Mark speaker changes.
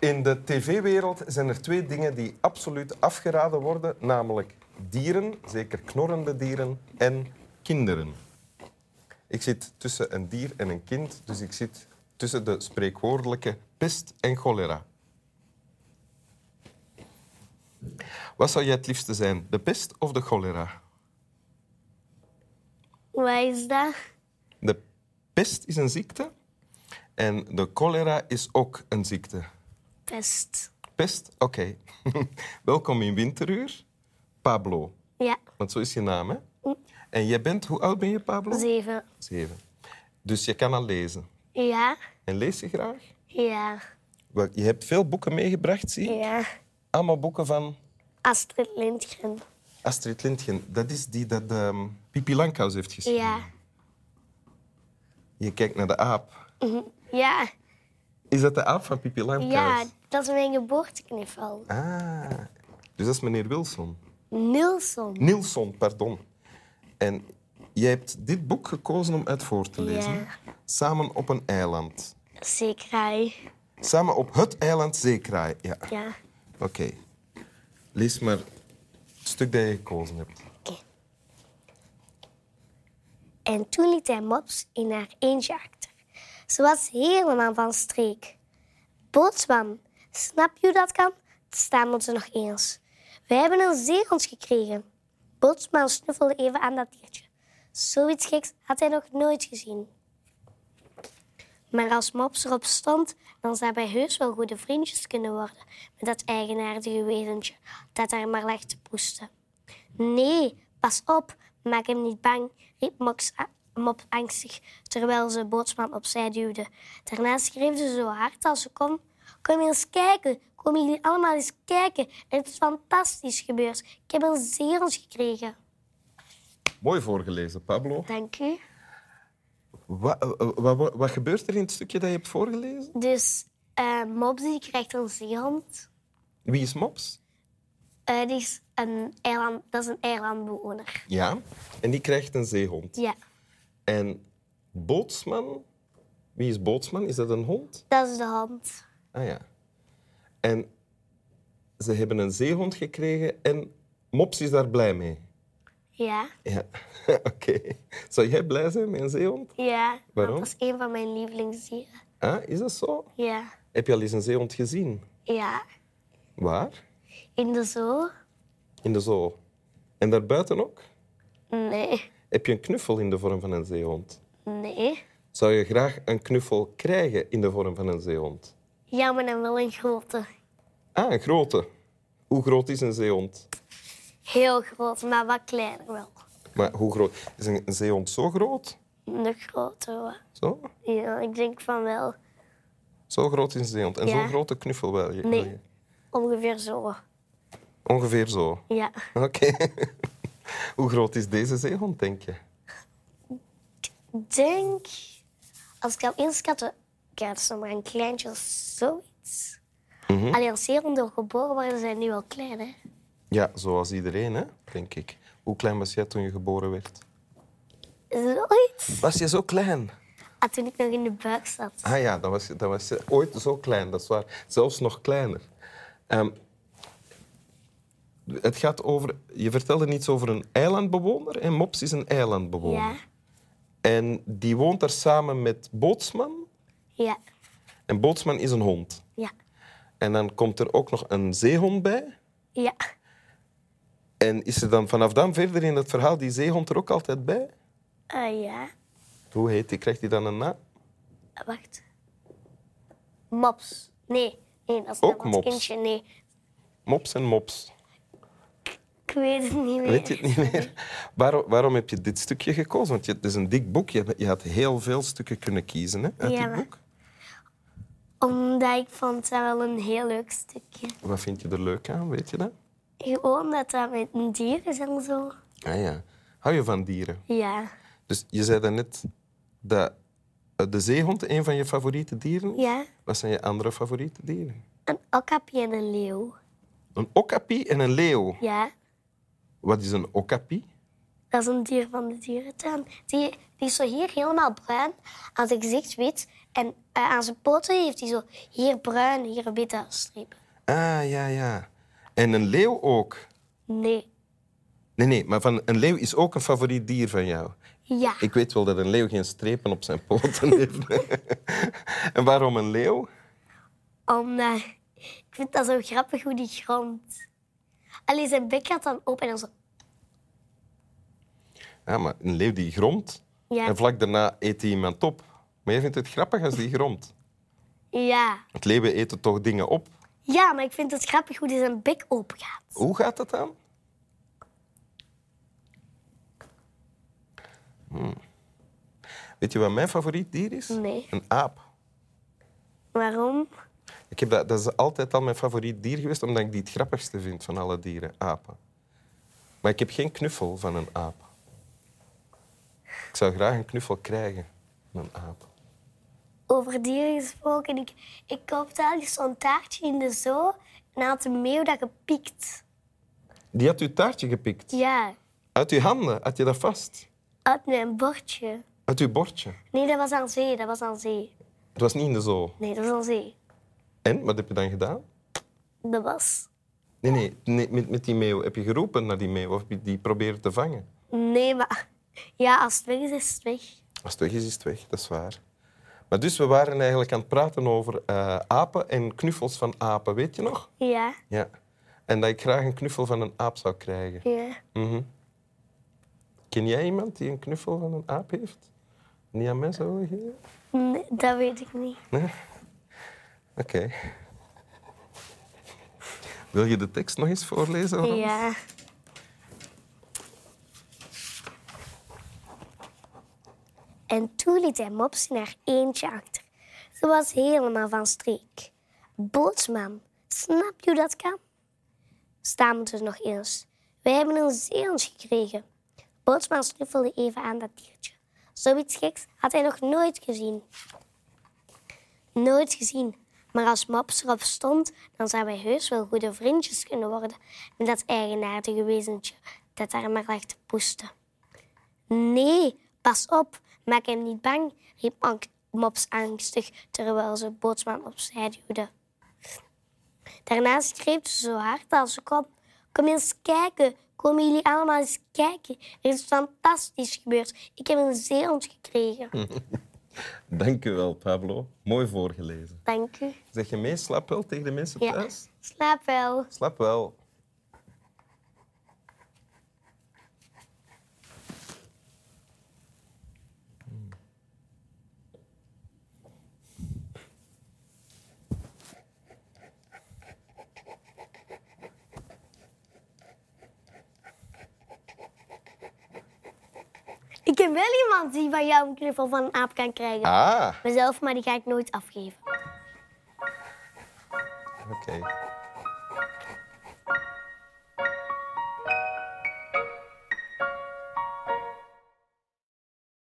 Speaker 1: In de tv-wereld zijn er twee dingen die absoluut afgeraden worden, namelijk dieren, zeker knorrende dieren, en kinderen. Ik zit tussen een dier en een kind, dus ik zit tussen de spreekwoordelijke pest en cholera. Wat zou jij het liefste zijn, de pest of de cholera?
Speaker 2: Wat is dat?
Speaker 1: De pest is een ziekte en de cholera is ook een ziekte.
Speaker 2: Pest.
Speaker 1: Pest, oké. Welkom in Winteruur, Pablo.
Speaker 2: Ja,
Speaker 1: Want zo is je naam, hè? En jij bent, hoe oud ben je, Pablo?
Speaker 2: zeven.
Speaker 1: Zeven. Dus je kan al lezen.
Speaker 2: Ja,
Speaker 1: En lees je graag?
Speaker 2: ja,
Speaker 1: Wel, je hebt veel boeken meegebracht, zie ik.
Speaker 2: ja.
Speaker 1: Allemaal boeken van
Speaker 2: Astrid Lindgren.
Speaker 1: Astrid Lindgren. Dat is die dat ehm Pipi Lankhuis heeft geschreven.
Speaker 2: Ja,
Speaker 1: Je kijkt naar de aap.
Speaker 2: ja,
Speaker 1: Is dat de aap van Pipi
Speaker 2: ja.
Speaker 1: Lankhuis?
Speaker 2: Dat is mijn geboortekniffel.
Speaker 1: Ah, dus dat is meneer Wilson.
Speaker 2: Nilsson.
Speaker 1: Nilsson, pardon. En jij hebt dit boek gekozen om uit voor te lezen.
Speaker 2: Ja.
Speaker 1: Samen op een eiland.
Speaker 2: Zeekraai.
Speaker 1: Samen op het eiland Zeekraai. Ja,
Speaker 2: Ja.
Speaker 1: oké. Lees maar het stuk dat je gekozen hebt.
Speaker 2: En toen liet hij Mops in haar eentje achter. Ze was helemaal van streek. Bootsman, snap je hoe dat kan? Het stamelde ze nog eens. We hebben een zeehond gekregen. Bootsman snuffelde even aan dat diertje. Zoiets geks had hij nog nooit gezien. Maar als Mops erop stond, dan zou wij heus wel goede vriendjes kunnen worden met dat eigenaardige wezentje dat daar maar lag te poesten. Nee, pas op, maak hem niet bang, riep Mops, Mop angstig terwijl ze bootsman opzij duwde. Daarna schreef ze zo hard als ze kon: Kom eens kijken, kom jullie allemaal eens kijken. Het is fantastisch gebeurd. Ik heb een zeehond gekregen.
Speaker 1: Mooi voorgelezen, Pablo.
Speaker 2: Dank u.
Speaker 1: Wat, eh, eh, wat, wat, wat gebeurt er in het stukje dat je hebt voorgelezen?
Speaker 2: Dus eh Mops die krijgt een zeehond.
Speaker 1: Wie is Mops?
Speaker 2: Eh, die is een eiland, dat is een eilandbewoner.
Speaker 1: Ja. En die krijgt een zeehond.
Speaker 2: Ja,
Speaker 1: En Bootsman? Wie is Bootsman? Is dat een hond?
Speaker 2: dat is de hond.
Speaker 1: Ah ja. En ze hebben een zeehond gekregen en Mops is daar blij mee.
Speaker 2: Ja,
Speaker 1: Ja, oké. Zou jij blij zijn met een zeehond?
Speaker 2: ja. want
Speaker 1: Waarom?
Speaker 2: Dat is een van mijn lievelingsdieren.
Speaker 1: Ah, is dat zo?
Speaker 2: Ja.
Speaker 1: Heb je al eens een zeehond gezien?
Speaker 2: Ja,
Speaker 1: Waar?
Speaker 2: in de zoo?
Speaker 1: In de zoo. En daarbuiten ook?
Speaker 2: Nee,
Speaker 1: Heb je een knuffel in de vorm van een zeehond?
Speaker 2: nee.
Speaker 1: Zou je graag een knuffel krijgen in de vorm van een zeehond?
Speaker 2: Ja, maar dan wel een grote.
Speaker 1: Ah, een grote. Hoe groot is een zeehond?
Speaker 2: Heel groot, maar wat kleiner wel.
Speaker 1: Maar hoe groot? Is een een zeehond zo groot?
Speaker 2: De grote wel.
Speaker 1: Zo?
Speaker 2: Ja, ik denk van wel.
Speaker 1: Zo groot is een zeehond. En
Speaker 2: Ja.
Speaker 1: zo'n grote knuffel wel. je-
Speaker 2: Nee.
Speaker 1: wil je?
Speaker 2: Ongeveer zo.
Speaker 1: Ongeveer zo.
Speaker 2: Ja,
Speaker 1: Oké. hoe groot is deze zeehond, denk je?
Speaker 2: ik denk... Als ik al inschatte, ja, het is nog maar een kleintje of zoiets. Alleen als zeehonden geboren worden, zijn nu al klein, hè.
Speaker 1: Ja, zoals iedereen, hè, denk ik. Hoe klein was jij toen je geboren werd?
Speaker 2: Zoiets.
Speaker 1: Was je zo klein?
Speaker 2: Ah, toen ik nog in de buik zat.
Speaker 1: Ah ja, dan was je, dan was je ooit zo klein, dat is waar. Zelfs nog kleiner. Ehm, het gaat over... Je vertelde iets over een eilandbewoner. En Mops is een eilandbewoner.
Speaker 2: Ja,
Speaker 1: En die woont daar samen met Bootsman.
Speaker 2: ja,
Speaker 1: En Bootsman is een hond.
Speaker 2: ja,
Speaker 1: En dan komt er ook nog een zeehond bij.
Speaker 2: ja.
Speaker 1: En is er dan vanaf dan verder in het verhaal die zeehond er ook altijd bij?
Speaker 2: Ah, ja.
Speaker 1: Hoe heet die? Krijgt die dan een naam?
Speaker 2: Eh, Wacht. Mops. Nee, nee dat is
Speaker 1: Ook
Speaker 2: nog wat
Speaker 1: mops.
Speaker 2: kindje. Nee,
Speaker 1: Mops en Mops.
Speaker 2: ik weet het niet meer.
Speaker 1: Weet je het niet meer? Waarom, waarom heb je dit stukje gekozen? Want je, het is een dik boek. Je, je had heel veel stukken kunnen kiezen hè, uit
Speaker 2: Ja,
Speaker 1: dit
Speaker 2: maar-
Speaker 1: boek.
Speaker 2: Omdat ik vond dat wel een heel leuk stukje.
Speaker 1: Wat vind je er leuk aan? Weet je dat?
Speaker 2: Gewoon dat dat met een dier is en zo.
Speaker 1: Ah ja. Hou je van dieren?
Speaker 2: Ja,
Speaker 1: Dus je zei daarnet dat eh, de zeehond een van je favoriete dieren is.
Speaker 2: ja.
Speaker 1: Wat zijn je andere favoriete dieren?
Speaker 2: Een okkapje en een leeuw.
Speaker 1: Een okapi en een leeuw.
Speaker 2: Ja,
Speaker 1: Wat is een okapi?
Speaker 2: Dat is een dier van de dierentuin. Die, die is zo hier helemaal bruin, aan zijn gezicht wit. En eh, aan zijn poten heeft hij zo hier bruin, hier witte strepen.
Speaker 1: Ah, ja, ja. En een leeuw ook.
Speaker 2: Nee.
Speaker 1: Nee, nee, maar van een leeuw is ook een favoriet dier van jou.
Speaker 2: Ja.
Speaker 1: Ik weet wel dat een leeuw geen strepen op zijn poten heeft. en waarom een leeuw?
Speaker 2: Om, eh, ik vind dat zo grappig hoe die grond. Alleen zijn bek gaat dan open en dan zo.
Speaker 1: Ja, maar een leeuw die gromt
Speaker 2: Ja.
Speaker 1: en vlak daarna eet hij iemand op. Maar jij vindt het grappig als die gromt.
Speaker 2: Ja.
Speaker 1: Want leeuwen eten toch dingen op.
Speaker 2: Ja, maar ik vind het grappig hoe die zijn bek open gaat.
Speaker 1: Hoe gaat dat dan? Hmm. Weet je wat mijn favoriet dier is?
Speaker 2: Nee.
Speaker 1: Een aap.
Speaker 2: Waarom?
Speaker 1: Ik heb dat, dat is altijd al mijn favoriet dier geweest, omdat ik die het grappigste vind van alle dieren, apen. Maar ik heb geen knuffel van een aap. Ik zou graag een knuffel krijgen van een aap.
Speaker 2: Over dieren gesproken. Ik, ik koopte altijd zo'n taartje in de zoo en had een meeuw dat gepiekt.
Speaker 1: Die had uw taartje gepikt.
Speaker 2: Ja,
Speaker 1: Uit uw handen had je dat vast.
Speaker 2: uit mijn bordje.
Speaker 1: Uit uw bordje.
Speaker 2: Nee, dat was aan zee, dat was aan zee.
Speaker 1: Het was niet in de zoo.
Speaker 2: Nee, dat was aan zee.
Speaker 1: En, wat heb je dan gedaan?
Speaker 2: Dat was.
Speaker 1: Nee, nee, nee, met, met die meeuw. Heb je geroepen naar die meeuw of heb je die proberen te vangen?
Speaker 2: Nee, maar. Ja, als het weg is, is het weg.
Speaker 1: Als het weg is, is het weg. Dat is waar. Maar dus, we waren eigenlijk aan het praten over eh, apen en knuffels van apen. Weet je nog?
Speaker 2: Ja,
Speaker 1: Ja. En dat ik graag een knuffel van een aap zou krijgen.
Speaker 2: ja.
Speaker 1: Mhm. Ken jij iemand die een knuffel van een aap heeft? En Die aan mij zou willen geven?
Speaker 2: Nee, dat weet ik niet.
Speaker 1: Nee? Oké. Wil je de tekst nog eens voorlezen? Ron?
Speaker 2: Ja. En toen liet hij Mopsy naar eentje achter. Ze was helemaal van streek. Bootsman, snap je hoe dat kan? Stamelde ze nog eens. Wij hebben een zeehond gekregen. Bootsman snuffelde even aan dat diertje. Zoiets geks had hij nog nooit gezien. Nooit gezien. Maar als Mops erop stond, dan zouden wij heus wel goede vriendjes kunnen worden met dat eigenaardige wezentje dat daar maar lag te poesten. Nee, pas op, maak hem niet bang, riep Ank- Mops angstig terwijl ze bootsman opzij duwde. Daarna schreef ze zo hard als ze kon. Kom eens kijken, komen jullie allemaal eens kijken. Er is fantastisch gebeurd. Ik heb een zeehond gekregen.
Speaker 1: Dank u wel, Pablo. Mooi voorgelezen.
Speaker 2: Dank u.
Speaker 1: Zeg je mee, slaap wel tegen de mensen
Speaker 2: Ja.
Speaker 1: thuis?
Speaker 2: Slaap wel.
Speaker 1: Slaap wel.
Speaker 2: Ik ken wel iemand die van jou een knuffel van een aap kan krijgen.
Speaker 1: Ah,
Speaker 2: Mezelf, maar die ga ik nooit afgeven.
Speaker 1: Ah, oké.